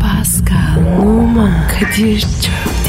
Pascal, Oman, Kadir çok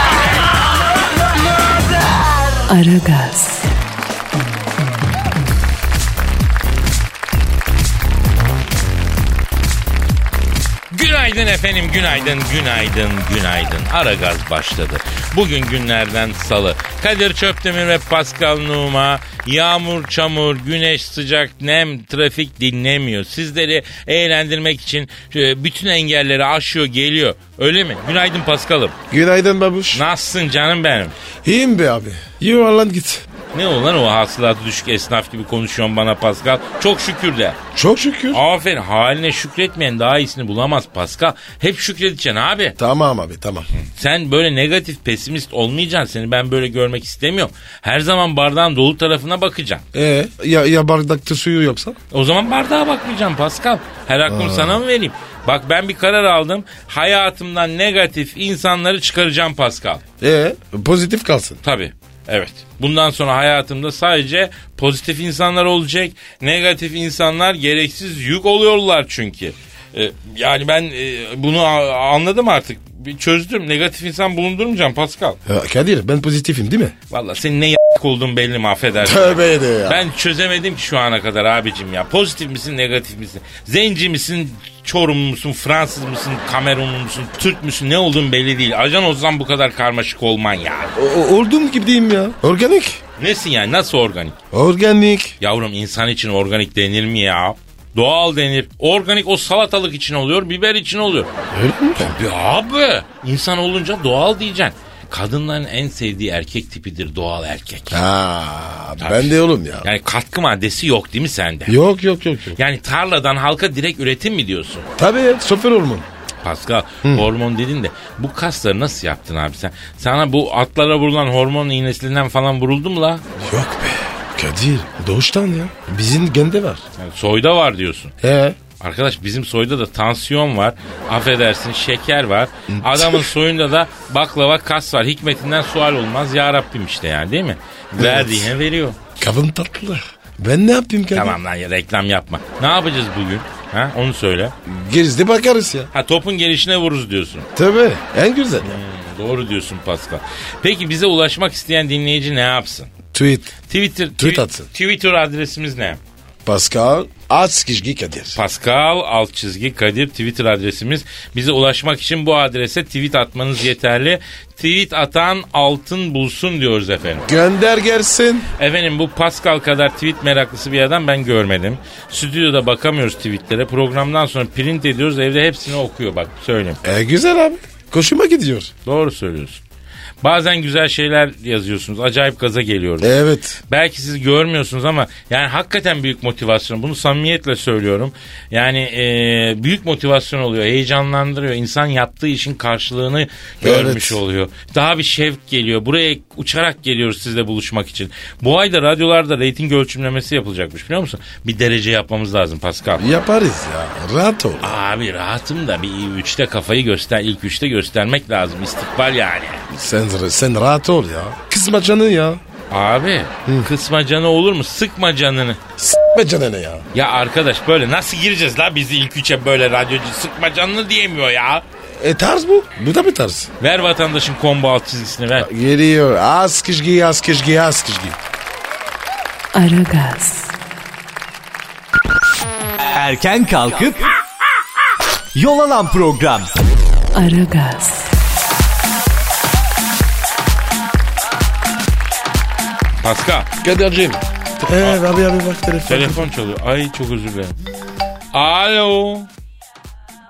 Aragaz, Günaydın efendim, günaydın, günaydın, günaydın. Ara gaz başladı. Bugün günlerden salı. Kadir Çöptemir ve Pascal Numa. Yağmur, çamur, güneş, sıcak, nem, trafik dinlemiyor. Sizleri eğlendirmek için e, bütün engelleri aşıyor, geliyor. Öyle mi? Günaydın Pascal'ım. Günaydın babuş. Nasılsın canım benim? İyiyim be abi. Yuvarlan git. Ne olan o hasılatı düşük esnaf gibi konuşuyorsun bana Pascal. Çok şükür de. Çok şükür. Aferin haline şükretmeyen daha iyisini bulamaz Pascal. Hep şükredeceksin abi. Tamam abi tamam. Sen böyle negatif pesimist olmayacaksın. Seni ben böyle görmek istemiyorum. Her zaman bardağın dolu tarafına bakacaksın. Ee ya, ya bardakta suyu yapsan? O zaman bardağa bakmayacaksın Pascal. Her aklımı sana mı vereyim? Bak ben bir karar aldım. Hayatımdan negatif insanları çıkaracağım Pascal. Ee pozitif kalsın. Tabii. Evet. Bundan sonra hayatımda sadece pozitif insanlar olacak. Negatif insanlar gereksiz yük oluyorlar çünkü. Ee, yani ben e, bunu a- anladım artık. Bir Çözdüm. Negatif insan bulundurmayacağım Pascal. Ya Kadir ben pozitifim değil mi? Valla senin ne y**k olduğun belli mi affedersin. Tövbe de ya. Ben çözemedim ki şu ana kadar abicim ya. Pozitif misin negatif misin? Zenci misin? Çorumlu musun? Fransız mısın? Kamerunlu musun? Türk müsün? Ne olduğun belli değil. Ajan olsan bu kadar karmaşık olman yani. O, o- olduğum gibi diyeyim ya. Organik. Nesin yani? Nasıl organik? Organik. Yavrum insan için organik denir mi ya? Doğal denir. Organik o salatalık için oluyor, biber için oluyor. Öyle mi? Ya abi insan olunca doğal diyeceksin. Kadınların en sevdiği erkek tipidir doğal erkek. Aa, ben de oğlum ya. Yani katkı maddesi yok değil mi sende? Yok yok yok yok. Yani tarladan halka direkt üretim mi diyorsun? Tabii ya, şoför olmam. Pascal hormon dedin de bu kasları nasıl yaptın abi sen? Sana bu atlara vurulan hormon iğnesinden falan vuruldu mu la? Yok be. Kadir doğuştan ya. Bizim gende var. Yani soyda var diyorsun. He. Arkadaş bizim soyda da tansiyon var. Affedersin şeker var. Adamın soyunda da baklava kas var. Hikmetinden sual olmaz. Ya Rabbim işte yani değil mi? Verdiğine veriyor. Kavun tatlı. Ben ne yapayım Kadir? Tamam lan ya reklam yapma. Ne yapacağız bugün? Ha onu söyle. Gerizde bakarız ya. Ha topun gelişine vururuz diyorsun. Tabii. En güzel ya. Doğru diyorsun Pascal. Peki bize ulaşmak isteyen dinleyici ne yapsın? Tweet. Twitter twi- Tweet atsın. Twitter adresimiz ne? Pascal Askizgi Kadir. Pascal alt çizgi Kadir Twitter adresimiz. Bize ulaşmak için bu adrese tweet atmanız yeterli. Tweet atan altın bulsun diyoruz efendim. Gönder gelsin. Efendim bu Pascal kadar tweet meraklısı bir adam ben görmedim. Stüdyoda bakamıyoruz tweetlere. Programdan sonra print ediyoruz evde hepsini okuyor bak söyleyeyim. E güzel abi. Koşuma gidiyor. Doğru söylüyorsun. Bazen güzel şeyler yazıyorsunuz. Acayip gaza geliyoruz. Evet. Belki siz görmüyorsunuz ama yani hakikaten büyük motivasyon. Bunu samimiyetle söylüyorum. Yani e, büyük motivasyon oluyor. Heyecanlandırıyor. İnsan yaptığı işin karşılığını görmüş oluyor. Daha bir şevk geliyor. Buraya uçarak geliyoruz sizle buluşmak için. Bu ayda radyolarda reyting ölçümlemesi yapılacakmış biliyor musun? Bir derece yapmamız lazım Pascal. Yaparız ya. Rahat ol. Abi rahatım da bir üçte kafayı göster, ilk üçte göstermek lazım. İstikbal yani. Sen, sen rahat ol ya. Kısma canını ya. Abi kısma canı olur mu? Sıkma canını. S**me canını ya. Ya arkadaş böyle nasıl gireceğiz la bizi ilk üçe böyle radyocu sıkma canını diyemiyor ya. E tarz bu. Bu da bir tarz. Ver vatandaşın combo alt çizgisini ver. Geliyor. Askizgi, Askizgi, Askizgi. Aragaz, Erken kalkıp yol alan program. Aragaz, Pascal Kadir'cim. Ee, abi abi bak telefon. telefon çalıyor. Ay çok özür dilerim. Alo.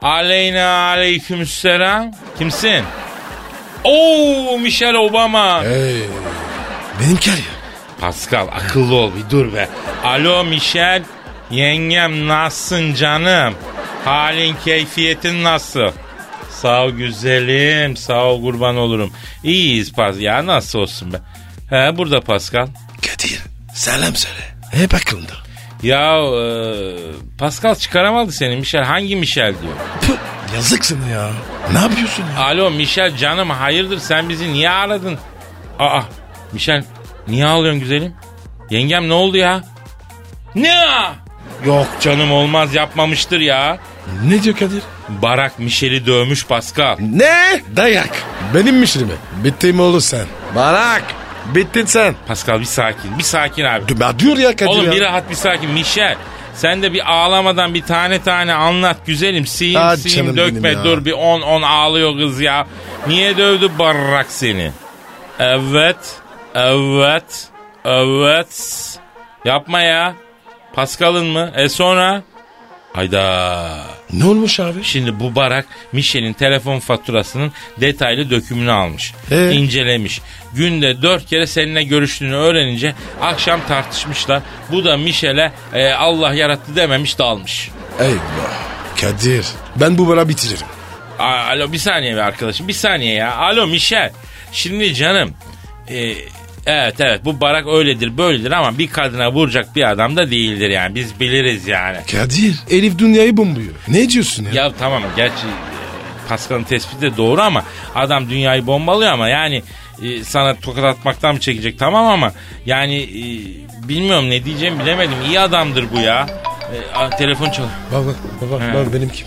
Aleyna aleykümselam. Kimsin? Oo Michelle Obama. Ee, benim ya. Pascal akıllı ol bir dur be. Alo Michel. Yengem nasılsın canım? Halin keyfiyetin nasıl? Sağ ol güzelim. Sağ ol kurban olurum. İyiyiz Paz. Ya nasıl olsun be. He burada Pascal. Kadir selam söyle. Hep aklımda. Ya e, Pascal çıkaramadı seni Michel. Hangi Michel diyor. Püh, yazık sana ya. Ne yapıyorsun ya? Alo Michel canım hayırdır sen bizi niye aradın? Aa Michel niye ağlıyorsun güzelim? Yengem ne oldu ya? Ne? Yok canım olmaz yapmamıştır ya. Ne diyor Kadir? Barak Michel'i dövmüş Pascal. Ne? Dayak. Benim mi? Bittim oğlum sen. Barak. Bittin sen. Pascal bir sakin bir sakin abi. Dur, ben diyor ya Kadir Oğlum ya. bir rahat bir sakin Michel. Sen de bir ağlamadan bir tane tane anlat güzelim. Siyim Hadi siyim canım dökme benim ya. dur bir 10-10 ağlıyor kız ya. Niye dövdü barrak seni? Evet, evet, evet. Yapma ya. Pascal'ın mı? E sonra? Hayda. Ne olmuş abi? Şimdi bu Barak Michel'in telefon faturasının detaylı dökümünü almış. Ee? incelemiş. Günde dört kere seninle görüştüğünü öğrenince akşam tartışmışlar. Bu da Michel'e e, Allah yarattı dememiş dalmış. Eyvah. Kadir. Ben bu bana bitiririm. A- Alo bir saniye be arkadaşım bir saniye ya. Alo Michel. Şimdi canım. e, evet evet bu Barak öyledir böyledir ama bir kadına vuracak bir adam da değildir yani. Biz biliriz yani. Kadir. Elif dünyayı bombuyor. Ne diyorsun ya? Ya tamam gerçi e, Pascal'ın tespiti de doğru ama adam dünyayı bombalıyor ama yani e, sana tokat atmaktan mı çekecek tamam ama yani e, bilmiyorum ne diyeceğimi bilemedim. İyi adamdır bu ya. E, a, telefon çalıyor. Bak bak bak bak, He. bak benimki.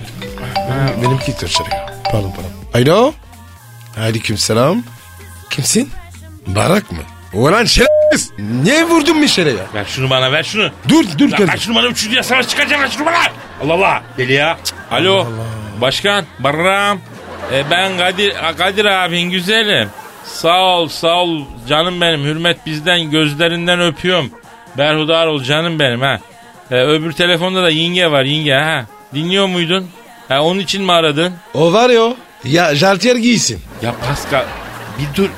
Benim, benimki dışarıya. Pardon pardon. Alo. Aleyküm selam. Kimsin? Barak mı? Ulan şerefsiz. Niye vurdun bir şere ya? Ver şunu bana ver şunu. Dur dur Lan ver Kadir. şunu bana üçüncü diye savaş çıkacağım ver şunu bana. Allah Allah. Deli ya. Cık, Alo. Başkan Barram. E, ben Kadir, a, Kadir abin güzelim. Sağ ol sağ ol canım benim. Hürmet bizden gözlerinden öpüyorum. Berhudar ol canım benim ha. E, öbür telefonda da yenge var yenge ha. Dinliyor muydun? Ha, onun için mi aradın? O var ya o. Ya jartiyer giysin. Ya Pascal bir dur. Cık,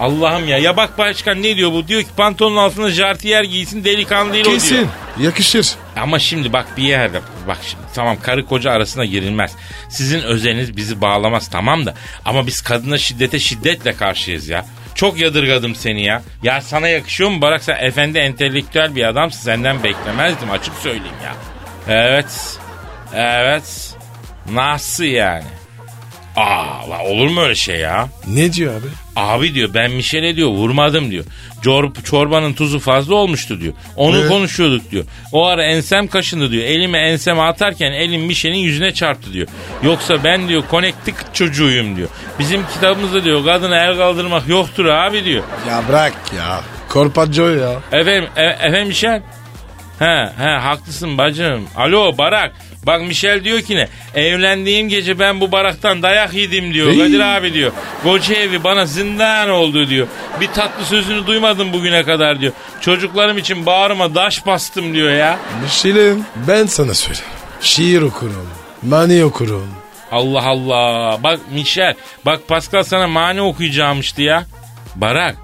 Allah'ım ya. Ya bak başkan ne diyor bu? Diyor ki pantolonun altına jartiyer giysin delikanlı değil o diyor. Giysin. Yakışır. Ama şimdi bak bir yerde bak şimdi tamam karı koca arasına girilmez. Sizin özeliniz bizi bağlamaz tamam da ama biz kadına şiddete şiddetle karşıyız ya. Çok yadırgadım seni ya. Ya sana yakışıyor mu Barak sen efendi entelektüel bir adamsın senden beklemezdim açık söyleyeyim ya. Evet. Evet. Nasıl yani? Aa la olur mu öyle şey ya? Ne diyor abi? Abi diyor ben Mişel'e diyor vurmadım diyor. Çor- çorbanın tuzu fazla olmuştu diyor. Onu Ee? konuşuyorduk diyor. O ara ensem kaşındı diyor. Elimi enseme atarken elim Mişel'in yüzüne çarptı diyor. Yoksa ben diyor konektik çocuğuyum diyor. Bizim kitabımızda diyor kadına el kaldırmak yoktur abi diyor. Ya bırak ya. Korpaccio ya. Efendim, e- efendim Mişel? He, he haklısın bacım. Alo Barak. Bak Michel diyor ki ne? Evlendiğim gece ben bu baraktan dayak yedim diyor. Ey. Kadir abi diyor. Koca evi bana zindan oldu diyor. Bir tatlı sözünü duymadım bugüne kadar diyor. Çocuklarım için bağrıma daş bastım diyor ya. Michelin ben sana söyleyeyim. Şiir okurum. Mani okurum. Allah Allah. Bak Michel. Bak Pascal sana mani okuyacağımıştı ya. Barak.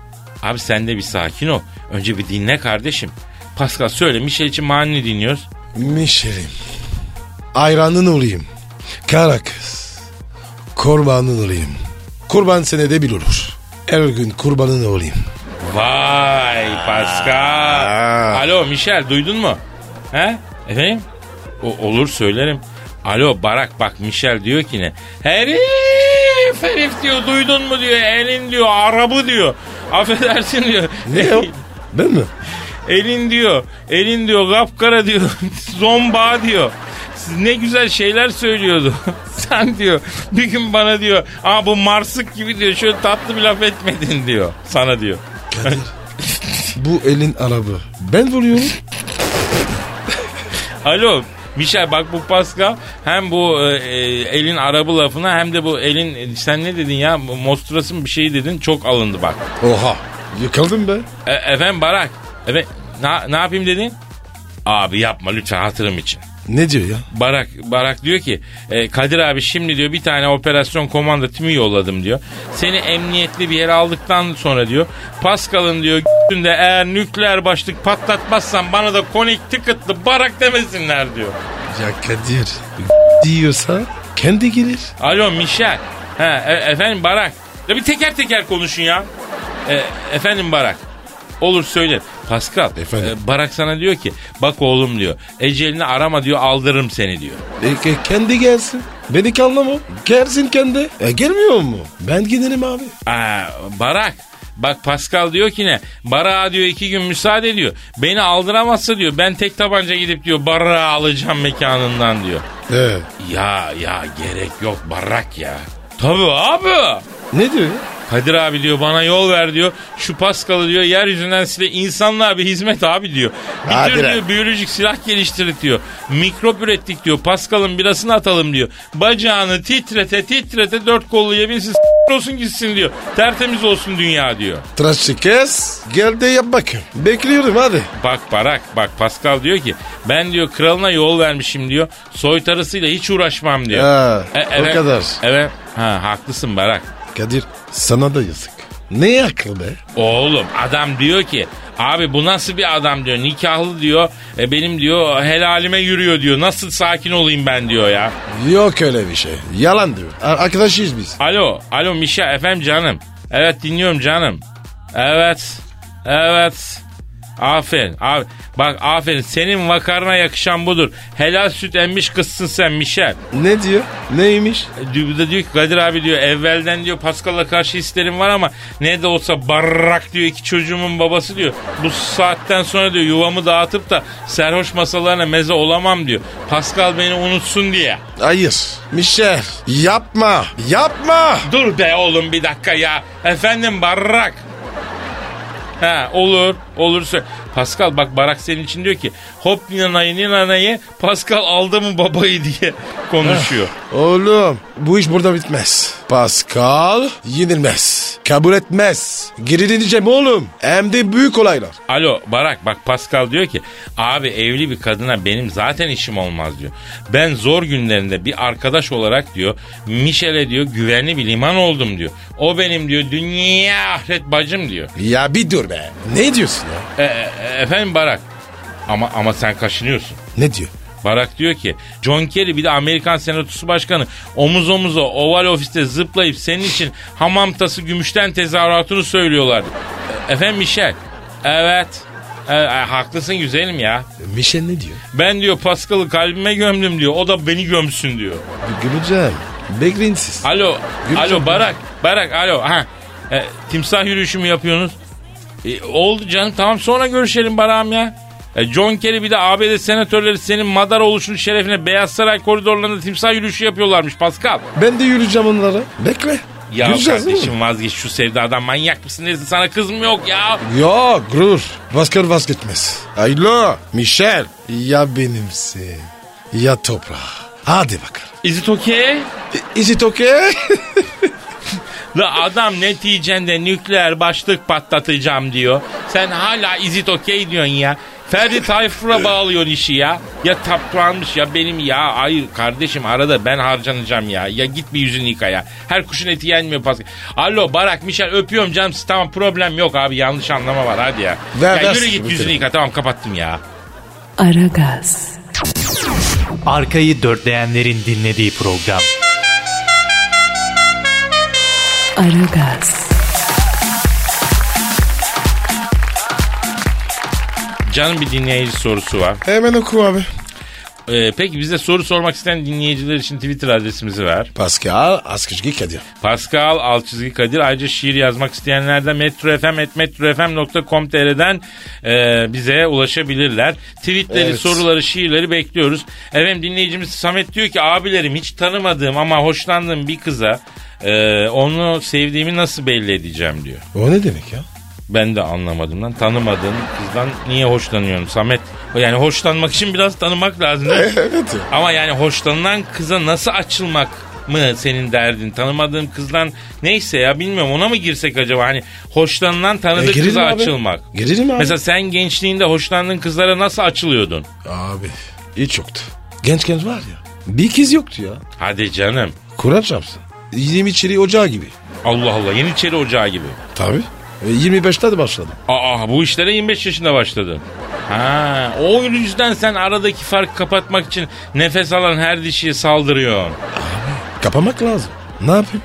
Abi sen de bir sakin ol. Önce bir dinle kardeşim. Pascal söyle Michel için mani dinliyoruz. Mişelim. Ayranın olayım. Kara kız. Kurbanın olayım. Kurban senede bir olur. Her gün kurbanın olayım. Vay Pascal. Aa. Alo Michel duydun mu? He? Efendim? O, olur söylerim. Alo Barak bak Michel diyor ki ne? Herif herif diyor duydun mu diyor elin diyor arabı diyor. Affedersin diyor. Ne o? Ben mi? elin diyor elin diyor kapkara diyor zomba diyor. Siz ne güzel şeyler söylüyordu. Sen diyor bir gün bana diyor aa bu marsık gibi diyor şöyle tatlı bir laf etmedin diyor sana diyor. Kadir. Bu elin arabı. Ben vuruyorum. Alo Michel bak bu Pascal hem bu e, e, elin arabı lafına hem de bu elin e, sen ne dedin ya mostrasın bir şey dedin çok alındı bak. Oha. Yıkıldım be. E, efendim Barak efendim, na- ne yapayım dedin? Abi yapma lütfen hatırım için. Ne diyor ya? Barak Barak diyor ki e, Kadir abi şimdi diyor bir tane operasyon komando timi yolladım diyor. Seni emniyetli bir yere aldıktan sonra diyor Pascal'ın diyor de eğer nükleer başlık patlatmazsan bana da konik tıkıtlı Barak demesinler diyor. Ya Kadir. Diyorsa Kendi gelir. Alo Michel. Ha, e- efendim Barak. Ya bir teker teker konuşun ya. E, efendim Barak. Olur söyle. Pascal. Efendim? e, Barak sana diyor ki bak oğlum diyor. Ecelini arama diyor aldırırım seni diyor. E, e, kendi gelsin. Beni ki anlama. Gelsin kendi. E, gelmiyor mu? Ben giderim abi. Aa, Barak. Bak Pascal diyor ki ne? Barak'a diyor iki gün müsaade diyor. Beni aldıramazsa diyor ben tek tabanca gidip diyor Barak'ı alacağım mekanından diyor. He. Ya ya gerek yok Barak ya. Tabii abi. Ne diyor? Kadir abi diyor bana yol ver diyor. Şu Paskal'ı diyor yeryüzünden size insanlığa bir hizmet abi diyor. Bir Hadi tür lan. diyor biyolojik silah geliştirdik diyor. Mikrop ürettik diyor. Paskal'ın birasını atalım diyor. Bacağını titrete titrete dört kollu yeminsiz s- olsun gitsin diyor. Tertemiz olsun dünya diyor. Tıraşı kes. Gel de yap bakayım. Bekliyorum hadi. Bak Barak bak Pascal diyor ki ben diyor kralına yol vermişim diyor. Soytarısıyla hiç uğraşmam diyor. Ha, o E, evet, kadar. Evet. Ha, haklısın Barak. Kadir sana da yazık. Ne aklı be? Oğlum adam diyor ki abi bu nasıl bir adam diyor nikahlı diyor e, benim diyor helalime yürüyor diyor nasıl sakin olayım ben diyor ya. Yok öyle bir şey. Yalan diyor. Ar- Arkadaşıyız biz. Alo alo Mişa efendim canım evet dinliyorum canım evet evet aferin abi bak aferin senin vakarına yakışan budur helal süt emmiş kızsın sen Mişa. Ne diyor? Neymiş? Diyor, da diyor ki Kadir abi diyor evvelden diyor Pascal'la karşı hislerim var ama ne de olsa barrak diyor iki çocuğumun babası diyor. Bu saatten sonra diyor yuvamı dağıtıp da serhoş masalarına meze olamam diyor. Pascal beni unutsun diye. Hayır. Michel yapma. Yapma. Dur be oğlum bir dakika ya. Efendim barrak. Ha olur olursa. Pascal bak Barak senin için diyor ki hop ninanayı ninanayı Pascal aldı mı babayı diye konuşuyor. Oğlum bu iş burada bitmez. Pascal yenilmez. Kabul etmez. Geri döneceğim oğlum. Hem de büyük olaylar. Alo Barak bak Pascal diyor ki abi evli bir kadına benim zaten işim olmaz diyor. Ben zor günlerinde bir arkadaş olarak diyor Michel'e diyor güvenli bir liman oldum diyor. O benim diyor dünya ahiret bacım diyor. Ya bir dur be. Ne diyorsun ya? E, e, e, efendim Barak ama ama sen kaşınıyorsun. Ne diyor? Barak diyor ki John Kerry bir de Amerikan Senatosu Başkanı omuz omuza oval ofiste zıplayıp senin için hamam tası gümüşten tezahüratını söylüyorlardı. E, Efendim Michel. Evet. E, e, haklısın güzelim ya. Michel ne diyor? Ben diyor Pascal'ı kalbime gömdüm diyor. O da beni gömsün diyor. Güleceğim. Bekleyin siz. Alo. Gülcan alo mı? Barak. Barak alo. Ha. E, timsah yürüyüşü mü yapıyorsunuz? E, oldu canım tamam sonra görüşelim Barak'ım ya. E, John Kerry bir de ABD senatörleri senin madar oluşunun şerefine Beyaz Saray koridorlarında timsah yürüyüşü yapıyorlarmış Pascal. Ben de yürüyeceğim onlara. Bekle. Ya Güleceğiz değil mi? kardeşim vazgeç şu sevdadan manyak mısın nesin sana kız mı yok ya? Ya gurur. Vaskar vazgeçmez. Alo Michel. Ya benimsin. Ya toprağa. Hadi bakalım. Is it okay? I- Is it okay? La adam neticende nükleer başlık patlatacağım diyor. Sen hala is it okay diyorsun ya. Ferdi Tayfur'a bağlıyorsun işi ya. Ya taplanmış ya benim ya. Hayır kardeşim arada ben harcanacağım ya. Ya git bir yüzünü yıka ya. Her kuşun eti yenmiyor Pascal. Alo Barak Michel öpüyorum canım. Tamam problem yok abi yanlış anlama var hadi ya. Ver, ya ver yürü git bu yüzünü telefonu. yıka tamam kapattım ya. Aragaz, Arkayı dörtleyenlerin dinlediği program. Aragaz, Canım bir dinleyici sorusu var. Hemen oku abi. Ee, peki bize soru sormak isteyen dinleyiciler için Twitter adresimizi ver. Pascal Askışgi Kadir. Pascal alt çizgi Kadir. Ayrıca şiir yazmak isteyenler de metrofm.com.tr'den e, bize ulaşabilirler. Tweetleri, Evet. soruları, şiirleri bekliyoruz. Efendim dinleyicimiz Samet diyor ki abilerim hiç tanımadığım ama hoşlandığım bir kıza e, onu sevdiğimi nasıl belli edeceğim diyor. O ne demek ya? Ben de anlamadım lan. Tanımadığım kızdan niye hoşlanıyorum Samet? Yani hoşlanmak için biraz tanımak lazım. değil mi? Evet ya. Ama yani hoşlanılan kıza nasıl açılmak mı senin derdin? Tanımadığım kızdan neyse ya bilmiyorum ona mı girsek acaba? Hani hoşlanılan E, tanıdık girelim kıza abi. açılmak. Girelim abi. Mesela sen gençliğinde hoşlandığın kızlara nasıl açılıyordun? Abi hiç yoktu. Genç genç var ya. Bir kız yoktu ya. Hadi canım. Kur'an çarpsın. 20 çeri ocağı gibi. Allah Allah Yeniçeri Ocağı gibi. Tabii. E, 25'te de başladım. Aa bu işlere 25 yaşında başladın. Ha, o yüzden sen aradaki farkı kapatmak için nefes alan her dişiye saldırıyorsun. Kapamak lazım. Ne yapayım?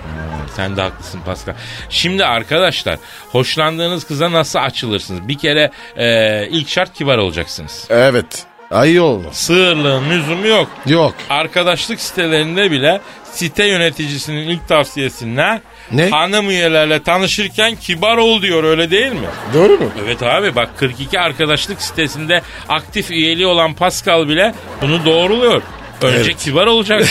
Sen de haklısın Pascal. Şimdi arkadaşlar hoşlandığınız kıza nasıl açılırsınız? Bir kere e, ilk şart kibar olacaksınız. Evet. Ayı olmaz. Sığırlığın lüzumu yok. Yok. Arkadaşlık sitelerinde bile site yöneticisinin ilk tavsiyesi ne? Ne? Hanım üyelerle tanışırken kibar ol diyor öyle değil mi? Doğru mu? Evet abi bak 42 arkadaşlık sitesinde aktif üyeliği olan Pascal bile bunu doğruluyor. Önce Evet. kibar olacak.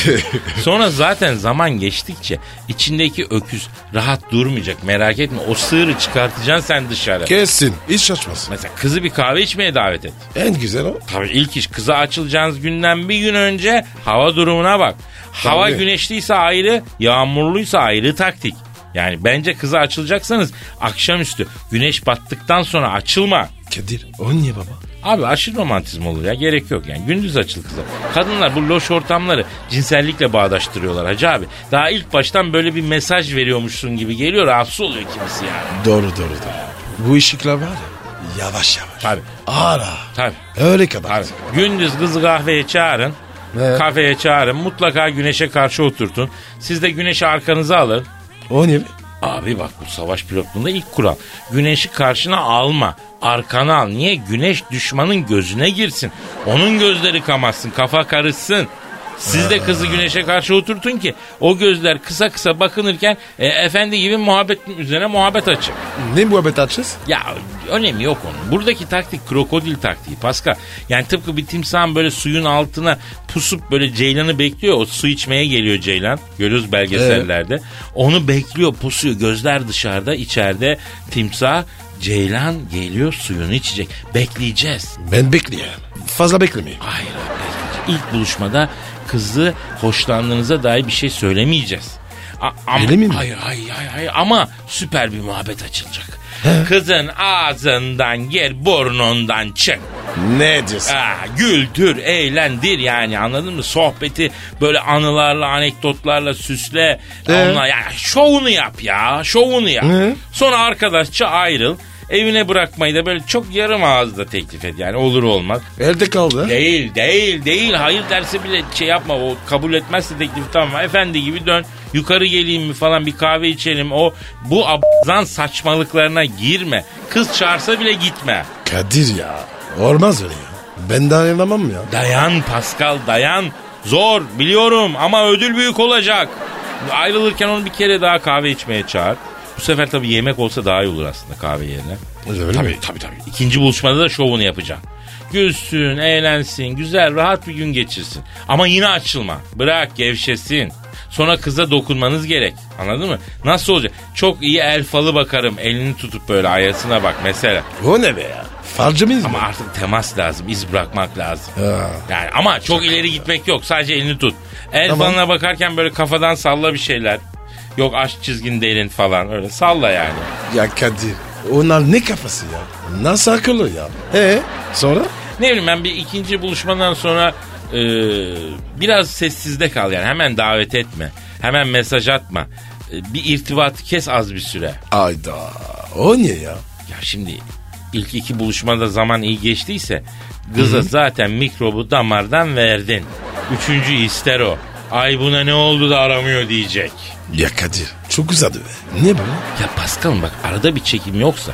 Sonra zaten zaman geçtikçe içindeki öküz rahat durmayacak merak etme. O sığırı çıkartacaksın sen dışarı. Kesin. Hiç şaşmasın. Mesela kızı bir kahve içmeye davet et. En güzel o. Tabii ilk iş kıza açılacağınız günden bir gün önce hava durumuna bak. Hava Tabii. güneşliyse ayrı, yağmurluysa ayrı taktik. Yani bence kıza açılacaksanız akşamüstü güneş battıktan sonra açılma. Kadir o niye baba? Abi aşırı romantizm olur ya gerek yok yani gündüz açıl kıza. Kadınlar bu loş ortamları cinsellikle bağdaştırıyorlar hacı abi. Daha ilk baştan böyle bir mesaj veriyormuşsun gibi geliyor rahatsız oluyor kimisi yani. Doğru doğru doğru. Bu ışıklar var ya. Yavaş yavaş. Tabii Ara. tabii. Öyle kadar. Abi, gündüz kızı kahveye çağırın. Evet. Kafeye çağırın. Mutlaka güneşe karşı oturtun. Siz de güneşi arkanıza alın. O niye? be? Abi bak bu savaş pilotluğunda ilk kural. Güneşi karşına alma. Arkana al. Niye? Güneş düşmanın gözüne girsin. Onun gözleri kamasın. Kafa karışsın. Siz de kızı güneşe karşı oturtun ki o gözler kısa kısa bakınırken e, efendi gibi muhabbetin üzerine muhabbet açın. Ne muhabbet açacağız? Ya önemi yok onun. Buradaki taktik krokodil taktiği Pascal. Yani tıpkı bir timsahın böyle suyun altına pusup böyle ceylanı bekliyor. O su içmeye geliyor ceylan. Görüyoruz belgesellerde. Onu bekliyor pusuyor. Gözler dışarıda içeride timsah. Ceylan geliyor suyunu içecek. Bekleyeceğiz. Ben bekliyorum. Fazla beklemeyeyim. Hayır abi, bekleyeceğiz. İlk buluşmada kızı hoşlandığınıza dair bir şey söylemeyeceğiz. A- ama- Öyle mi? Hayır hayır hayır, hayır. ama süper bir muhabbet açılacak. Kızın ağzından gir burnundan çık. Ne diyorsun? Aa, güldür, eğlendir yani anladın mı? Sohbeti böyle anılarla, anekdotlarla süsle. Ee? Onunla- ya, şovunu yap ya, şovunu yap. Ee? Sonra arkadaşça ayrıl. Evine bırakmayı da böyle çok yarım ağızda teklif et yani olur olmaz. Elde kaldı. ha? Değil değil değil hayır derse bile şey yapma o kabul etmezse teklifi tamam efendi gibi dön yukarı geleyim mi falan bir kahve içelim o bu abzan saçmalıklarına girme kız çağırsa bile gitme. Kadir ya. Olmaz öyle ya. Ben dayanamam ya. Dayan Pascal dayan zor biliyorum ama ödül büyük olacak. Ayrılırken onu bir kere daha kahve içmeye çağır. Bu sefer tabii yemek olsa daha iyi olur aslında kahve yerine. Öyle mi? Tabii tabii. İkinci buluşmada da şovunu yapacağım. Gülsün, eğlensin, güzel, rahat bir gün geçirsin. Ama yine açılma. Bırak, gevşesin. Sonra kıza dokunmanız gerek. Anladın mı? Nasıl olacak? Çok iyi el falı bakarım. Elini tutup böyle ayasına bak mesela. O ne be ya? Falcı mıyız Ama mı? artık temas lazım, iz bırakmak lazım. Ha. Yani ama çok ileri gitmek yok. Sadece elini tut. El Tamam. falına bakarken böyle kafadan salla bir şeyler. Yok aşk çizgin derin falan öyle salla yani. Ya Kadir. Onlar ne kafası ya? Nasıl akıllı ya? E sonra? Ne bileyim ben bir ikinci buluşmadan sonra e, biraz sessizde kal yani. Hemen davet etme. Hemen mesaj atma. E, bir irtibatı kes az bir süre. Ayda. O niye ya? Ya şimdi ilk iki buluşmada zaman iyi geçtiyse kıza zaten mikrobu damardan verdin. Üçüncü ister o. Ay buna ne oldu da aramıyor diyecek. Ya Kadir. Çok uzadı be. Niye böyle? Ya Paskal'ım bak arada bir çekim yoksa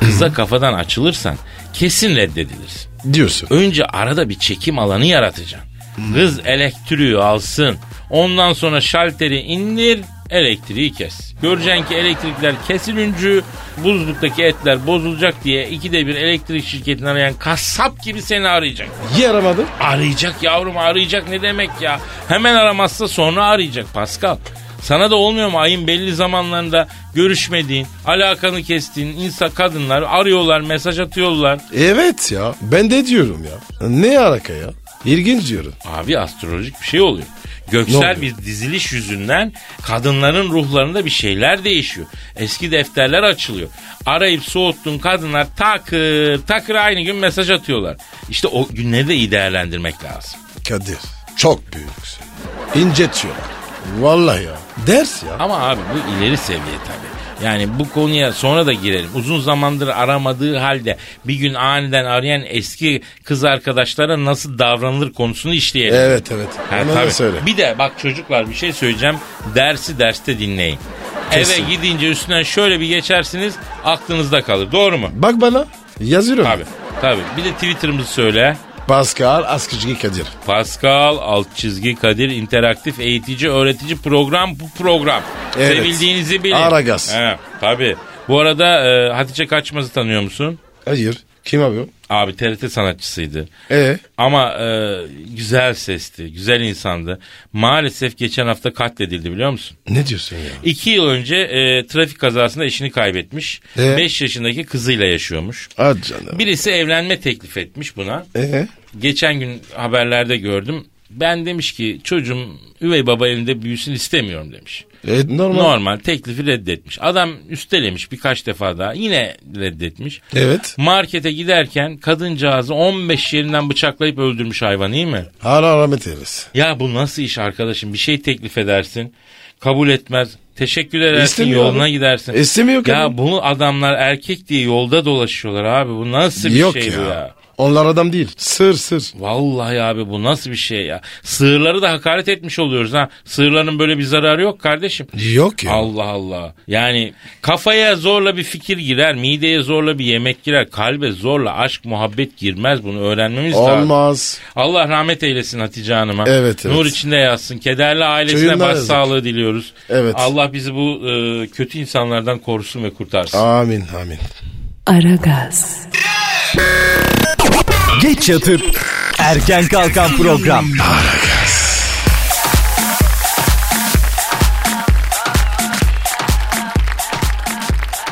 kıza kafadan açılırsan kesin reddedilirsin. Diyorsun. Önce arada bir çekim alanı yaratacaksın. Kız elektriği alsın. Ondan sonra şalteri indir, elektriği kes. Göreceksin ki elektrikler kesilüncü buzluktaki etler bozulacak diye ikide bir elektrik şirketini arayan kasap gibi seni arayacak. Niye aramadın? Arayacak yavrum arayacak ne demek ya? Hemen aramazsa sonra arayacak Pascal. Sana da olmuyor mu ayın belli zamanlarında görüşmediğin, alakanı kestiğin insan kadınlar arıyorlar, mesaj atıyorlar. Evet ya. Ben de diyorum ya. Ne alaka ya? İlginç diyorum. Abi astrolojik bir şey oluyor. Ne Göksel oluyor? bir diziliş yüzünden kadınların ruhlarında bir şeyler değişiyor. Eski defterler açılıyor. Arayıp soğuttuğun kadınlar takır takır aynı gün mesaj atıyorlar. İşte o günleri de iyi değerlendirmek lazım. Kadir. Çok büyüksün. İncetiyorlar. Vallahi ya. Ders ya. Ama abi bu ileri seviye tabii. Yani bu konuya sonra da girelim. Uzun zamandır aramadığı halde bir gün aniden arayan eski kız arkadaşlara nasıl davranılır konusunu işleyelim. Evet evet. Ha, Ona tabii. da söyle. Bir de bak çocuklar bir şey söyleyeceğim. Dersi derste dinleyin. Kesin. Eve gidince üstünden şöyle bir geçersiniz aklınızda kalır. Doğru mu? Bak bana. Yazıyorum. Tabii. Tabii. Bir de Twitter'ımızı söyle. Pascal Askıcı Kadir. Pascal alt çizgi Kadir interaktif eğitici öğretici program bu program. Evet. Sevildiğinizi bilin. Aragaz. He, tabii. Bu arada e, Hatice Kaçmaz'ı tanıyor musun? Hayır. Kim abi o? Abi TRT sanatçısıydı. Ee? Ama e, güzel sesti, güzel insandı. Maalesef geçen hafta katledildi biliyor musun? Ne diyorsun ya? İki yıl önce e, trafik kazasında eşini kaybetmiş. Ee? Beş yaşındaki kızıyla yaşıyormuş. Hadi canım. Birisi evlenme teklif etmiş buna. Ee? Geçen gün haberlerde gördüm. Ben demiş ki çocuğum üvey baba elinde büyüsün istemiyorum demiş. E, normal. Normal teklifi reddetmiş. Adam üstelemiş birkaç defa daha yine reddetmiş. Evet. Markete giderken kadıncağızı 15 yerinden bıçaklayıp öldürmüş hayvan iyi mi? Allah rahmet eylesin. Ya bu nasıl iş arkadaşım? Bir şey teklif edersin, kabul etmez, teşekkür edersin, İstemiyor yoluna abi. gidersin. İstemiyor kadın. Ya bunu adamlar erkek diye yolda dolaşıyorlar abi. Bu nasıl bir Yok şey ya. bu ya? Onlar adam değil. Sır sır. Vallahi abi bu nasıl bir şey ya? Sığırları da hakaret etmiş oluyoruz ha. Sığırların böyle bir zararı yok kardeşim. Yok ya. Allah Allah. Yani kafaya zorla bir fikir girer, mideye zorla bir yemek girer, kalbe zorla aşk muhabbet girmez bunu öğrenmemiz lazım. Olmaz. Allah rahmet eylesin Hatice Hanım'a. Evet, evet. Nur içinde yatsın. Kederli ailesine Çocuğundan baş yazık. sağlığı diliyoruz. Evet. Allah bizi bu e, kötü insanlardan korusun ve kurtarsın. Amin amin. Aragaz, Geç yatıp erken kalkan program.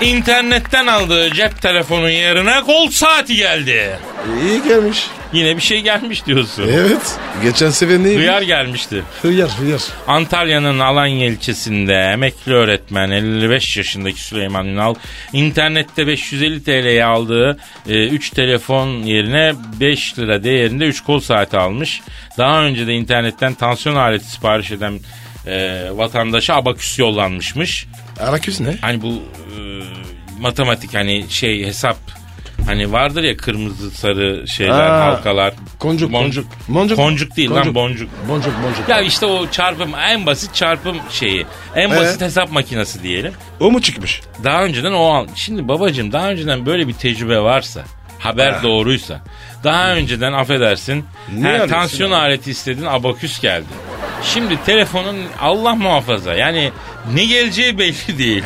İnternetten aldığı cep telefonu yerine kol saati geldi. İyi gelmiş. Yine bir şey gelmiş diyorsun. Evet. Geçen sefer neydi? Duyar gelmişti. Hıyar hıyar. Antalya'nın Alanya ilçesinde emekli öğretmen 55 yaşındaki Süleyman Ünal internette 550 TL'ye aldığı 3 telefon yerine 5 lira değerinde 3 kol saati almış. Daha önce de internetten tansiyon aleti sipariş eden e, vatandaşa abaküs yollanmışmış. Araküs ne? Hani bu e, matematik hani şey hesap hani vardır ya kırmızı sarı şeyler Aa, halkalar. Koncuk, Boncuk. koncuk. Boncuk mu? Koncuk değil lan Koncuk. boncuk. Boncuk boncuk. Ya işte o çarpım en basit çarpım şeyi. En basit Ee? hesap makinesi diyelim. O mu çıkmış? Daha önceden o al. Şimdi babacığım daha önceden böyle bir tecrübe varsa, haber doğruysa, daha önceden affedersin, Ne her arıyorsun tansiyon ya? aleti istedin abaküs geldi. Şimdi telefonun Allah muhafaza yani ne geleceği belli değil.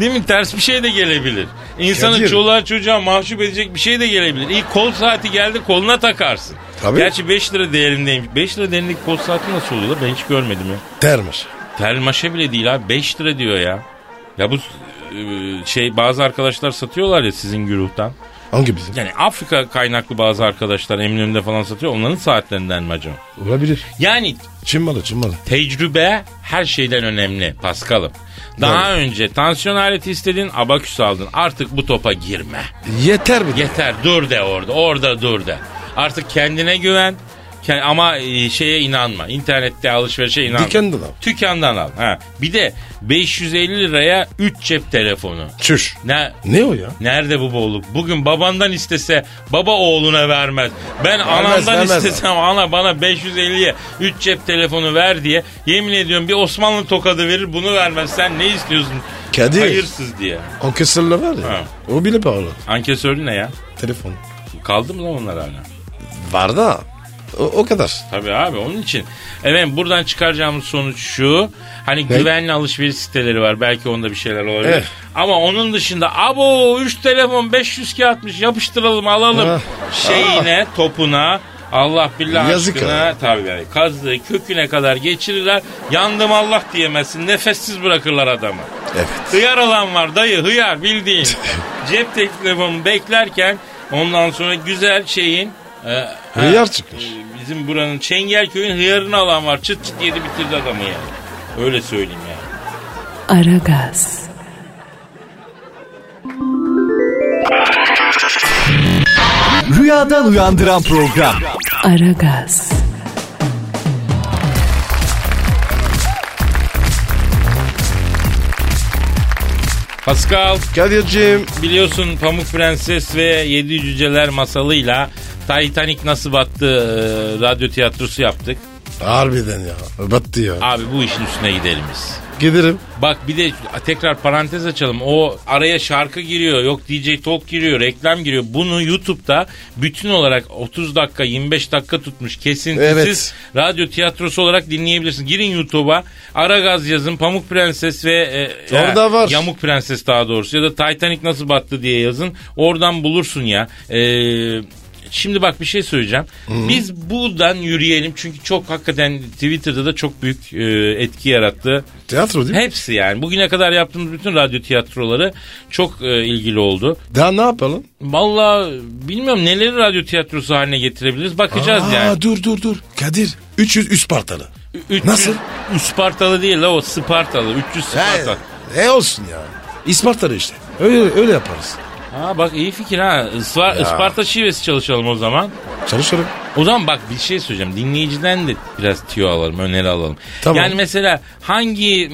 Değil mi? Ters bir şey de gelebilir. İnsanı Kadir. çoluğa çocuğa mahcup edecek bir şey de gelebilir. İlk kol saati geldi koluna takarsın. Tabii. Gerçi 5 lira değerindeymiş. 5 lira değerindeki kol saati nasıl oluyor? Ben hiç görmedim ya. Termiş. Termaşe bile değil abi 5 lira diyor ya. Ya bu e, şey bazı arkadaşlar satıyorlar ya sizin güruhtan. Hangi bizim? Yani Afrika kaynaklı bazı arkadaşlar Eminönü'nde falan satıyor. Onların saatlerinden mi acaba? Olabilir. Yani Çin malı Çin malı. tecrübe her şeyden önemli Paskal'ım. Daha önce tansiyon aleti istedin, abaküs aldın. Artık bu topa girme. Yeter mi? Yeter dur de orada, orada dur de. Artık kendine güven ke- ama e, şeye inanma. İnternette alışverişe inanma. Dükkandan al. Tükendan al. Ha. Bir de 550 liraya 3 cep telefonu. Çüş. Ne Ne o ya? Nerede bu bolluk? Bugün babandan istese baba oğluna vermez. Ben anamdan vermez istesem ana bana 550'ye 3 cep telefonu ver diye yemin ediyorum bir Osmanlı tokadı verir bunu vermez. Sen ne istiyorsun? Kadir. Hayırsız diye. Ankesirli var ya. Ha. O bile pahalı. Ankesörlü ne ya? Telefon. Kaldı mı lan onlar hala? Var da. O, o kadar. Tabii abi onun için. Evet buradan çıkaracağımız sonuç şu. Hani güvenli alışveriş siteleri var. Belki onda bir şeyler olabilir. Evet. Ama onun dışında abo 3 telefon 500 kağıtmış yapıştıralım alalım. Ah. Şeyine topuna Allah billah Yazık aşkına ya. tabii yani kazdığı köküne kadar geçirirler. Yandım Allah diyemezsin. Nefessiz bırakırlar adamı. Evet. Hıyar alan var dayı hıyar bildiğin. Cep telefonu beklerken ondan sonra güzel şeyin e, Hıyar çıkmış. e, Bizim buranın Çengelköy'ün hıyarını alan var. Çıt çıt yedi bitirdi adamı yani. Öyle söyleyeyim yani. Aragaz, Rüyadan uyandıran program. Aragaz, Pascal Kadir'cim. biliyorsun Pamuk Prenses ve Yedi Cüceler masalıyla Titanic nasıl battı e, radyo tiyatrosu yaptık. Harbiden ya. Battı ya. Abi bu işin üstüne gidelim biz. Giderim. Bak bir de tekrar parantez açalım. O araya şarkı giriyor, yok DJ Talk giriyor, reklam giriyor. Bunu YouTube'da bütün olarak 30 dakika, 25 dakika tutmuş kesintisiz Evet. radyo tiyatrosu olarak dinleyebilirsin. Girin YouTube'a, Ara Gaz yazın, Pamuk Prenses ve e, Orada var. Yamuk Prenses daha doğrusu ya da Titanic nasıl battı diye yazın. Oradan bulursun ya. Eee Şimdi bak bir şey söyleyeceğim. Biz buradan yürüyelim çünkü çok hakikaten Twitter'da da çok büyük e, etki yarattı. Tiyatro değil mi? Hepsi yani. Bugüne kadar yaptığımız bütün radyo tiyatroları çok e, ilgili oldu. Daha ne yapalım? Valla bilmiyorum neleri radyo tiyatrosu haline getirebiliriz. Bakacağız yani. dur dur dur. Kadir. 300 üst partalı. 300 Nasıl? Ispartalı değil la o Spartalı. 300 Spartalı. E olsun ya. İspartalı işte. Öyle öyle yaparız. Ha bak iyi fikir ha. Ispa- Isparta şivesi çalışalım o zaman. Çalışalım. O zaman bak bir şey söyleyeceğim. Dinleyiciden de biraz tüyo alalım, öneri alalım. Tamam. Yani mesela hangi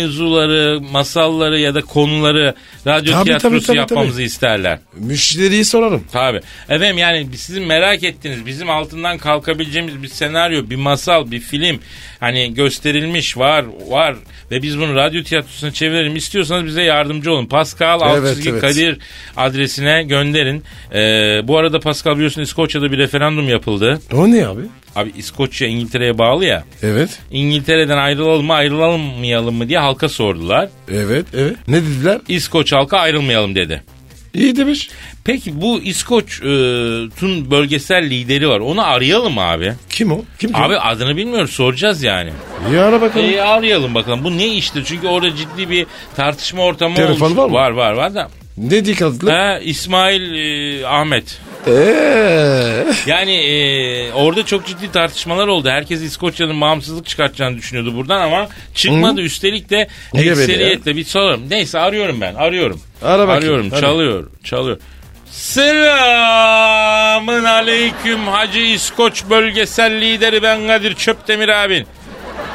mevzuları, masalları ya da konuları radyo Tabii, tiyatrosu tabii, tabii, yapmamızı tabii. isterler? Müşteriyi sorarım. Tabii. Efendim yani sizin merak ettiğiniz bizim altından kalkabileceğimiz bir senaryo, bir masal, bir film hani gösterilmiş var var ve biz bunu radyo tiyatrosuna çevirelim istiyorsanız bize yardımcı olun. Pascal alt Evet, çizgi evet. Kadir adresine gönderin. Ee, bu arada Pascal biliyorsun İskoçya'da bir referandum yapıldı. O ne abi? Abi İskoçya İngiltere'ye bağlı ya. Evet. İngiltere'den ayrılalım mı ayrılamayalım mı diye halka sordular. Evet. Evet. Ne dediler? İskoç halka ayrılmayalım dedi. İyi demiş. Peki bu İskoç'un bölgesel lideri var. Onu arayalım abi. Kim o? Kim kim? Abi adını bilmiyoruz soracağız yani. İyi ara bakalım. E, arayalım bakalım. Bu ne iştir? Çünkü orada ciddi bir tartışma ortamı Telefonu olmuş. var mı? Var var var da. Ne dikkatli? Ha, İsmail e, Ahmet. Eee. Yani e, orada çok ciddi tartışmalar oldu. Herkes İskoçya'nın bağımsızlık çıkartacağını düşünüyordu buradan ama çıkmadı. Üstelik de Niye böyle ekseriyetle bir sorarım. Neyse arıyorum ben arıyorum. Ara bakayım, Arıyorum hadi. çalıyor çalıyor. Selamın aleyküm Hacı İskoç bölgesel lideri ben Kadir Çöptemir abin.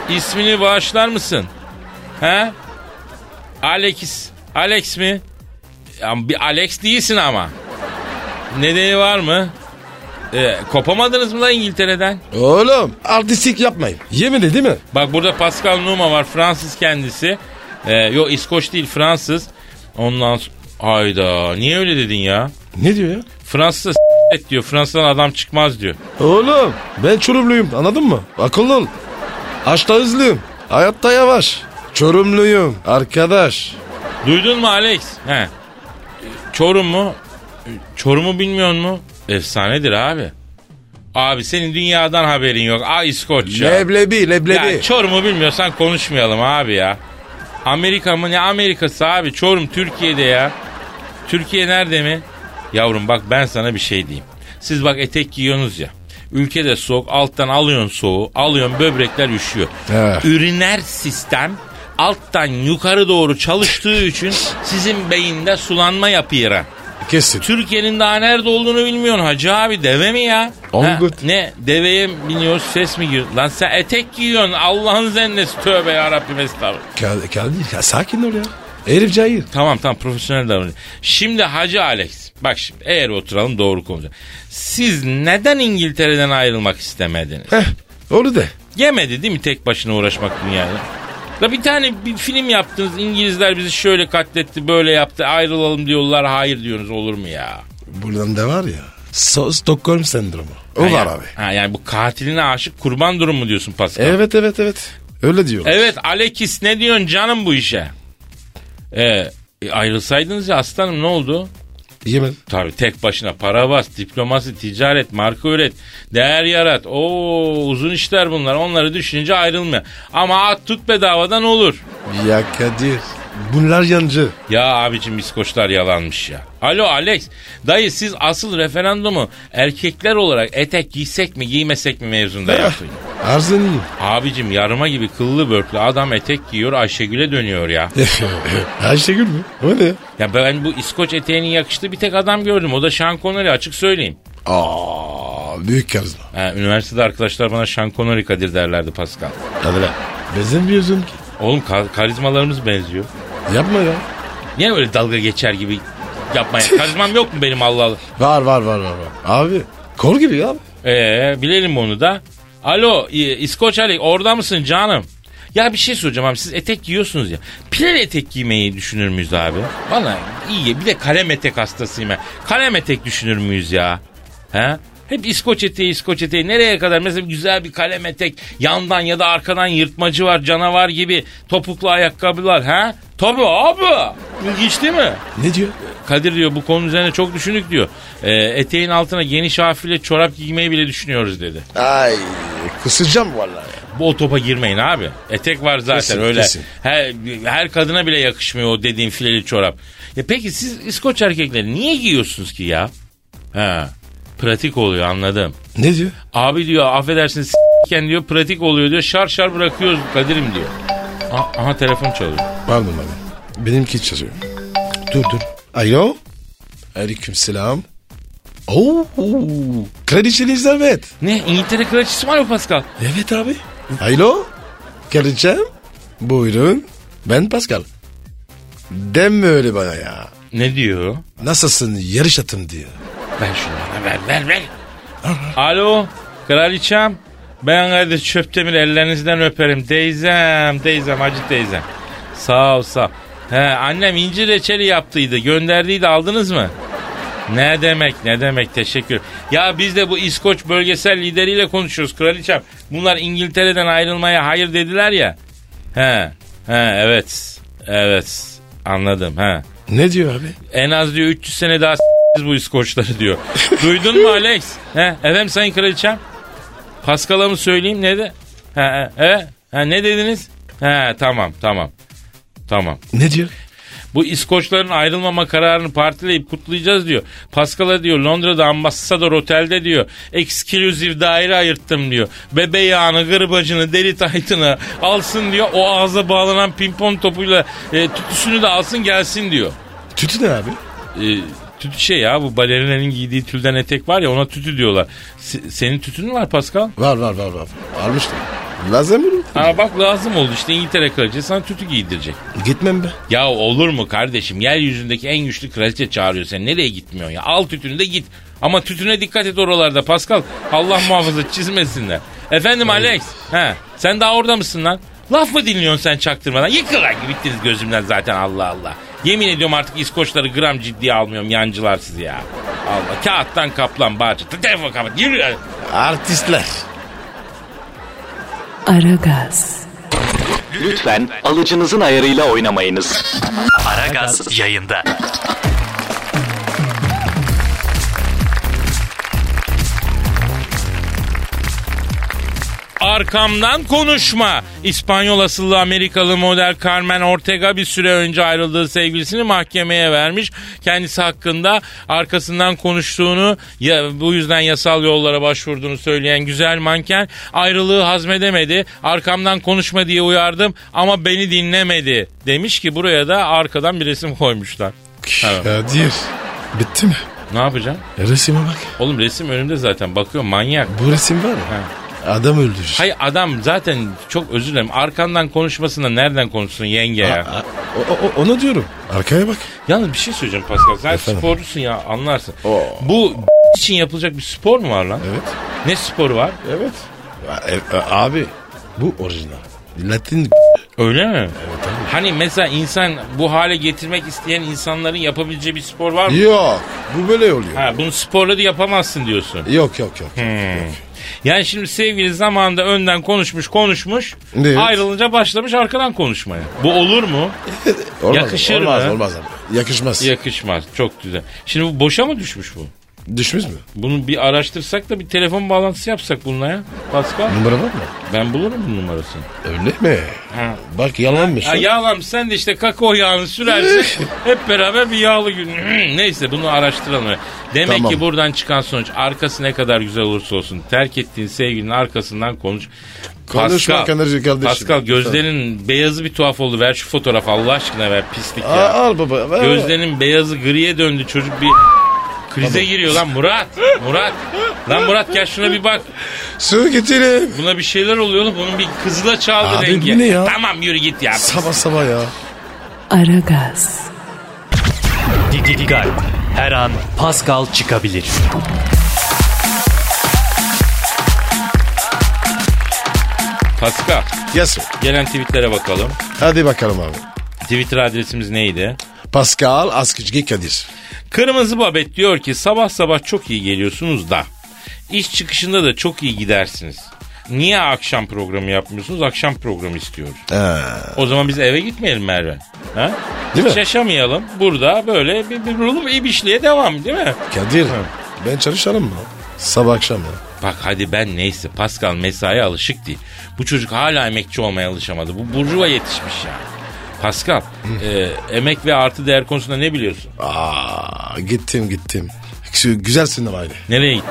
İsmini bağışlar mısın? He? Alex. Alex mi? Ya bir Alex değilsin ama. Nedeni var mı? Ee, kopamadınız mı lan İngiltere'den? Oğlum artistik yapmayın. Yemedi değil mi? Bak burada Pascal Numa var. Fransız kendisi. Ee, yok İskoç değil Fransız. Ondan sonra... Hayda niye öyle dedin ya? Ne diyor ya? Fransız s- et diyor. Fransa'dan adam çıkmaz diyor. Oğlum ben çorumluyum anladın mı? Akıllı ol. Açta hızlıyım. Hayatta yavaş. Çorumluyum arkadaş. Duydun mu Alex? He. Ee, Çorum mu? Ee, Çorum'u bilmiyor mu? Efsanedir abi. Abi senin dünyadan haberin yok. Aa İskoçya. Leblebi leblebi. Ya Çorum'u bilmiyorsan konuşmayalım abi ya. Amerika mı ne Amerikası abi Çorum Türkiye'de ya. Türkiye nerede mi? Yavrum bak ben sana bir şey diyeyim. Siz bak etek giyiyorsunuz ya. Ülkede soğuk alttan alıyorsun soğuğu alıyorsun böbrekler üşüyor. Evet. Üriner sistem alttan yukarı doğru çalıştığı için sizin beyinde sulanma yapıyor. Kesin. Türkiye'nin daha nerede olduğunu bilmiyorsun hacı abi deve mi ya? Angut. Ha, ne deveye biniyoruz ses mi giriyor? Lan sen etek giyiyorsun Allah'ın zennesi tövbe yarabbim estağfurullah. Ka- Kadir ya sakin ol ya. Herif cahil. Tamam tamam profesyonel davranın. Şimdi Hacı Alex bak şimdi eğer oturalım doğru konuşalım. Siz neden İngiltere'den ayrılmak istemediniz? Heh onu de. Yemedi değil mi tek başına uğraşmak dünyada? La bir tane bir film yaptınız İngilizler bizi şöyle katletti böyle yaptı ayrılalım diyorlar hayır diyorsunuz olur mu ya? Buradan da var ya. So- Stockholm sendromu. O Ha var ya- abi. Ha yani bu katiline aşık kurban durumu diyorsun Pascal. Evet. Evet evet evet. Öyle diyor. E- Alekis ne diyorsun canım bu işe? Ee, e, ayrılsaydınız ya aslanım ne oldu? Yemedi. Tabii tek başına para bas, diplomasi, ticaret, marka üret, değer yarat. Oo uzun işler bunlar. Onları düşününce ayrılmıyor. Ama at tut bedavadan olur. Ya Kadir. Bunlar yancı. Ya abicim İskoçlar yalanmış ya. Alo Alex. Dayı siz asıl referandumu erkekler olarak etek giysek mi giymesek mi mevzunda yapın. Arzın iyi. Abicim yarıma gibi kıllı börklü adam etek giyiyor Ayşegül'e dönüyor ya. Ayşegül mü? O ne? Ya ben bu İskoç eteğinin yakıştığı bir tek adam gördüm. O da Sean Connery açık söyleyeyim. Aa, büyük karizma. Ha, üniversitede arkadaşlar bana Sean Connery Kadir derlerdi Pascal. Hadi lan. Benzemiyorsun ki. Oğlum ka- karizmalarımız benziyor. Yapma ya. Niye böyle dalga geçer gibi yapmaya? Karizmam yok mu benim Allah Allah? Var var var var. var. Abi kol gibi ya. Ee, bilelim onu da. Alo e, İskoç Ali orada mısın canım? Ya bir şey soracağım abi siz etek giyiyorsunuz ya. Pilel etek giymeyi düşünür müyüz abi? Valla iyi ya, bir de kalem etek hastasıyım ben. Kalem etek düşünür müyüz ya? He? Hep İskoç eteği İskoç eteği nereye kadar mesela güzel bir kalem etek yandan ya da arkadan yırtmacı var canavar gibi topuklu ayakkabılar ha? Tabii abi ilginç değil mi? Ne diyor? Kadir diyor bu konu üzerine çok düşündük diyor. Ee, eteğin altına geniş hafifle çorap giymeyi bile düşünüyoruz dedi. Ay kusacağım vallahi. Bu o topa girmeyin abi. Etek var zaten Kesin, öyle. kesin. Her, her kadına bile yakışmıyor o dediğin fileli çorap. Ya peki siz İskoç erkekleri niye giyiyorsunuz ki ya? Ha, pratik oluyor anladım. Ne diyor? Abi diyor affedersiniz s**ken diyor pratik oluyor diyor. Şar şar bırakıyoruz Kadir'im diyor. Aha, aha telefon çalıyor. Pardon abi. Benimki çalıyor. Dur dur. Alo. Aleyküm selam. Oo. Kraliçe Elizabeth. Ne İngiltere kraliçesi var mı Pascal? Evet abi. Alo. Kraliçem. Buyurun. Ben Pascal. Deme öyle bana ya. Ne diyor? Nasılsın yarış atım diyor. Ver şunu. Ver ver ver. Alo kraliçem. Ben Kadir Çöptemir ellerinizden öperim. Teyzem, teyzem, acı teyzem. Sağ ol, sağ ol. He, annem incir reçeli yaptıydı. Gönderdiydi aldınız mı? Ne demek ne demek teşekkür. Ya biz de bu İskoç bölgesel lideriyle konuşuyoruz kraliçem. Bunlar İngiltere'den ayrılmaya hayır dediler ya. He, he evet. Evet. Anladım he. Ne diyor abi? En az diyor 300 sene daha s**eceğiz bu İskoçları diyor. Duydun mu Alex? He, efendim sayın kraliçem? Paskal'a mı söyleyeyim ne de? He, he, he, he, ne dediniz? He, tamam tamam. Tamam. Ne diyor? Bu İskoçların ayrılmama kararını partileyip kutlayacağız diyor. Paskal'a diyor Londra'da ambasador otelde diyor. Exclusive daire ayırttım diyor. Bebe yağını, gırbacını, deli taytını alsın diyor. O ağza bağlanan pimpon topuyla e, tütüsünü de alsın gelsin diyor. Tütü ne abi? E, tütü şey ya bu balerinenin giydiği tülden etek var ya ona tütü diyorlar. Se- senin tütün mü var Pascal? Var var var var. Almıştım. Lazım mı? Aa bak lazım oldu işte İngiltere kraliçesi sana tütü giydirecek. Gitmem be. Ya olur mu kardeşim? Yeryüzündeki en güçlü kraliçe çağırıyor seni. Nereye gitmiyorsun ya? Al tütünü de git. Ama tütüne dikkat et oralarda Pascal. Allah muhafaza çizmesinler. Efendim Alex. He, sen daha orada mısın lan? Laf mı dinliyorsun sen çaktırmadan? Yıkıl lan gittiniz gözümden zaten Allah Allah. Yemin ediyorum artık İskoçları gram ciddiye almıyorum yancılar sizi ya. Allah kağıttan kaplan bağcı. Telefon kapat. Yürü. Artistler. Aragaz, Lütfen alıcınızın ayarıyla oynamayınız. Aragaz yayında. Arkamdan konuşma. İspanyol asıllı Amerikalı model Carmen Ortega bir süre önce ayrıldığı sevgilisini mahkemeye vermiş. Kendisi hakkında arkasından konuştuğunu ya bu yüzden yasal yollara başvurduğunu söyleyen güzel manken ayrılığı hazmedemedi. Arkamdan konuşma diye uyardım ama beni dinlemedi demiş ki buraya da arkadan bir resim koymuşlar. Tamam. Kadir. Bitti mi? E, Ne yapacağım? Resime bak. Oğlum resim önümde zaten bakıyorum manyak. Bu resim var ya. Adam öldürür. Hayır adam zaten çok özür dilerim arkandan konuşmasında nereden konuşsun yenge ya. A- o- o- onu diyorum. Arkaya bak. Yalnız bir şey söyleyeceğim Pascal. Sen Efendim? sporcusun ya anlarsın. Oo. Bu için yapılacak bir spor mu var lan? Evet. Ne sporu var? Evet. e, abi bu orijinal. Latin Öyle mi? Hani mesela insan bu hale getirmek isteyen insanların yapabileceği bir spor var mı? Yok. Bu böyle oluyor. Ha, bunu sporla da yapamazsın diyorsun. Hmm. Yok yok yok. Yani şimdi sevgili zamanında önden konuşmuş konuşmuş Evet. ayrılınca başlamış arkadan konuşmaya. Bu olur mu? Olmaz, Yakışır olmaz, mı? Olmaz abi. Yakışmaz. Yakışmaz. Çok güzel. Şimdi bu boşa mı düşmüş bu? Düşmüş mü? Bunu bir araştırsak da bir telefon bağlantısı yapsak bununla ya. Pascal Numara var mı? ben bulurum bu numarasını. Öyle mi? Ha. Bak yalanmış. Ya yağlam sen de işte kakao yağını sürersin. hep beraber bir yağlı gün. Hmm, Neyse bunu araştıralım. Demek Tamam. ki buradan çıkan sonuç arkası ne kadar güzel olursa olsun terk ettiğin sevgilinin arkasından konuş. Konuşma Pascal, kardeşim, kardeşim. Pascal gözlerin beyazı bir tuhaf oldu. Ver şu fotoğrafı Allah aşkına ver pislik Aa, ya. al baba. ver. Gözlerinin beyazı griye döndü çocuk bir krize giriyor lan Murat. Murat. Lan Murat gel şuna bir bak. Su getirin. Buna bir şeyler oluyor oğlum. Bunun bir kızıla çaldı Abi bu rengi. ne ya? Tamam yürü git ya. Sabah sabah ya. Aragaz, Didi Gal. Her an Pascal çıkabilir. Pascal Yes. sir. gelen tweetlere bakalım. Hadi bakalım abi. Twitter adresimiz neydi? Pascal Askıcı Kadir. Kırmızı Babet diyor ki sabah sabah çok iyi geliyorsunuz da iş çıkışında da çok iyi gidersiniz. Niye akşam programı yapmıyorsunuz? Akşam programı istiyoruz. O zaman biz eve gitmeyelim Merve. Ha? Değil mi? Hiç yaşamayalım. Burada böyle bir, bir rulo- bir işliğe devam değil mi? Kadir ben çalışalım mı? Sabah akşam ya. Bak hadi ben neyse Pascal mesaiye alışık değil. Bu çocuk hala emekçi olmaya alışamadı. Bu burjuva yetişmiş yani. Pascal, e, emek ve artı değer konusunda ne biliyorsun? Aa, gittim gittim. Şu güzel sinir aile. Nereye gittin?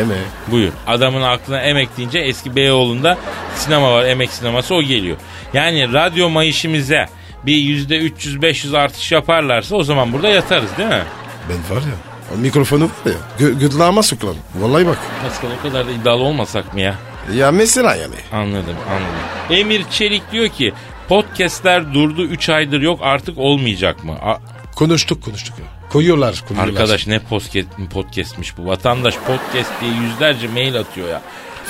Eme. Buyur. Adamın aklına emek deyince eski Beyoğlu'nda sinema var. Emek sineması o geliyor. Yani radyo mayışımıza bir yüzde 300-500 artış yaparlarsa o zaman burada yatarız değil mi? Ben var ya. O mikrofonu var ya. Gö gırtlağıma sokulan. Vallahi bak. Pascal o kadar da iddialı olmasak mı ya? Ya mesela yani. Anladım anladım. Emir Çelik diyor ki podcastler durdu 3 aydır yok artık olmayacak mı? A- Konuştuk konuştuk ya. Koyuyorlar koyuyorlar. Arkadaş ne podcast, podcastmiş bu. Vatandaş podcast diye yüzlerce mail atıyor ya.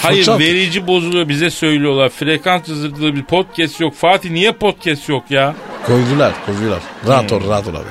Hayır Fırça atıyor. verici bozuluyor bize söylüyorlar. Frekans hızırdığı bir podcast yok. Fatih niye podcast yok ya? Koydular koydular. Rahat ol rahat ol abi.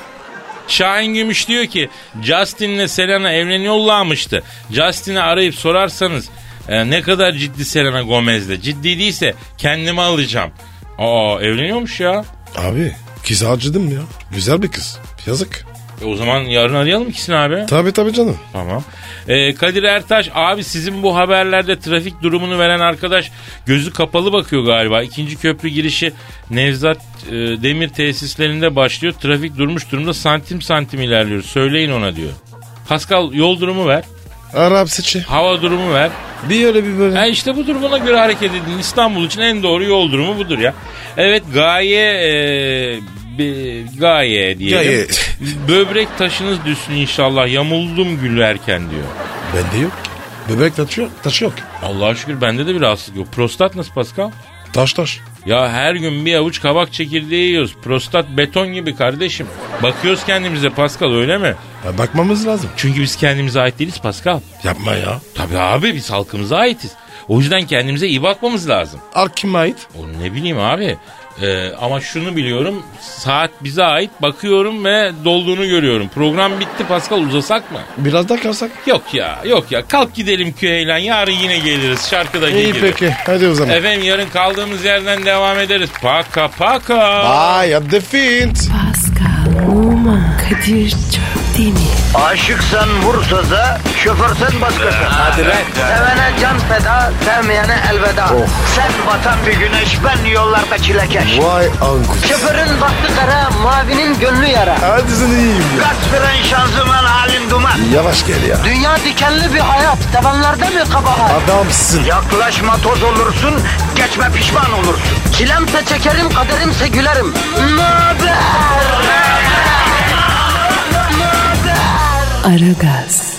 Şahin Gümüş diyor ki Justin'le Selena evleniyorlarmıştı. Justin'i arayıp sorarsanız e, ne kadar ciddi Selena Gomez'le. Ciddi değilse kendimi alacağım. Aa evleniyormuş ya. Abi kız harcadım ya. Güzel bir kız. Yazık. E, o zaman yarın arayalım ikisini abi. Tabi tabi canım. Tamam. Ee, Kadir Ertaş abi sizin bu haberlerde trafik durumunu veren arkadaş gözü kapalı bakıyor galiba. İkinci köprü girişi Nevzat e, Demir tesislerinde başlıyor. Trafik durmuş durumda santim santim ilerliyor. Söyleyin ona diyor. Pascal yol durumu ver. Arap seçi. Hava durumu ver. Bir öyle bir böyle. E işte bu durumuna göre hareket edin. İstanbul için en doğru yol durumu budur ya. Evet gaye e, bi- gaye diyelim. Gaye. Böbrek taşınız düşsün inşallah. Yamuldum gülerken diyor. Bende yok ki. Bebek taşı yok. Taşı yok. Allah'a şükür bende de bir rahatsızlık yok. Prostat nasıl Pascal? Taş taş. Ya her gün bir avuç kabak çekirdeği yiyoruz. Prostat beton gibi kardeşim. Bakıyoruz kendimize Pascal öyle mi? Ya bakmamız lazım. Çünkü biz kendimize ait değiliz Pascal. Yapma ya. Tabii abi biz halkımıza aitiz. O yüzden kendimize iyi bakmamız lazım. Ark kime ait? Oğlum ne bileyim abi. Ee, ama şunu biliyorum. Saat bize ait. Bakıyorum ve dolduğunu görüyorum. Program bitti Pascal uzasak mı? Biraz daha kalsak. Yok ya yok ya. Kalk gidelim Küheylan. Yarın yine geliriz. Şarkıda İyi geliriz. peki. Hadi o zaman. Efendim yarın kaldığımız yerden devam ederiz. Paka paka. Ay at the feet. Pascal, Oman, Kadir çok değil mi? Aşıksan vursa da, şoförsen başkasın. Hadi Sevene can feda, sevmeyene elveda. Sen batan bir güneş, ben yollarda çilekeş. Vay anku. Şoförün baktı kara, mavinin gönlü yara. Hadi sen iyiyim ya. Kasperen şanzıman halin duman. Yavaş gel ya. Dünya dikenli bir hayat, sevenlerde mi kabahar? Adamsın. Yaklaşma toz olursun, geçme pişman olursun. Çilemse çekerim, kaderimse gülerim. Möber! Aragaz.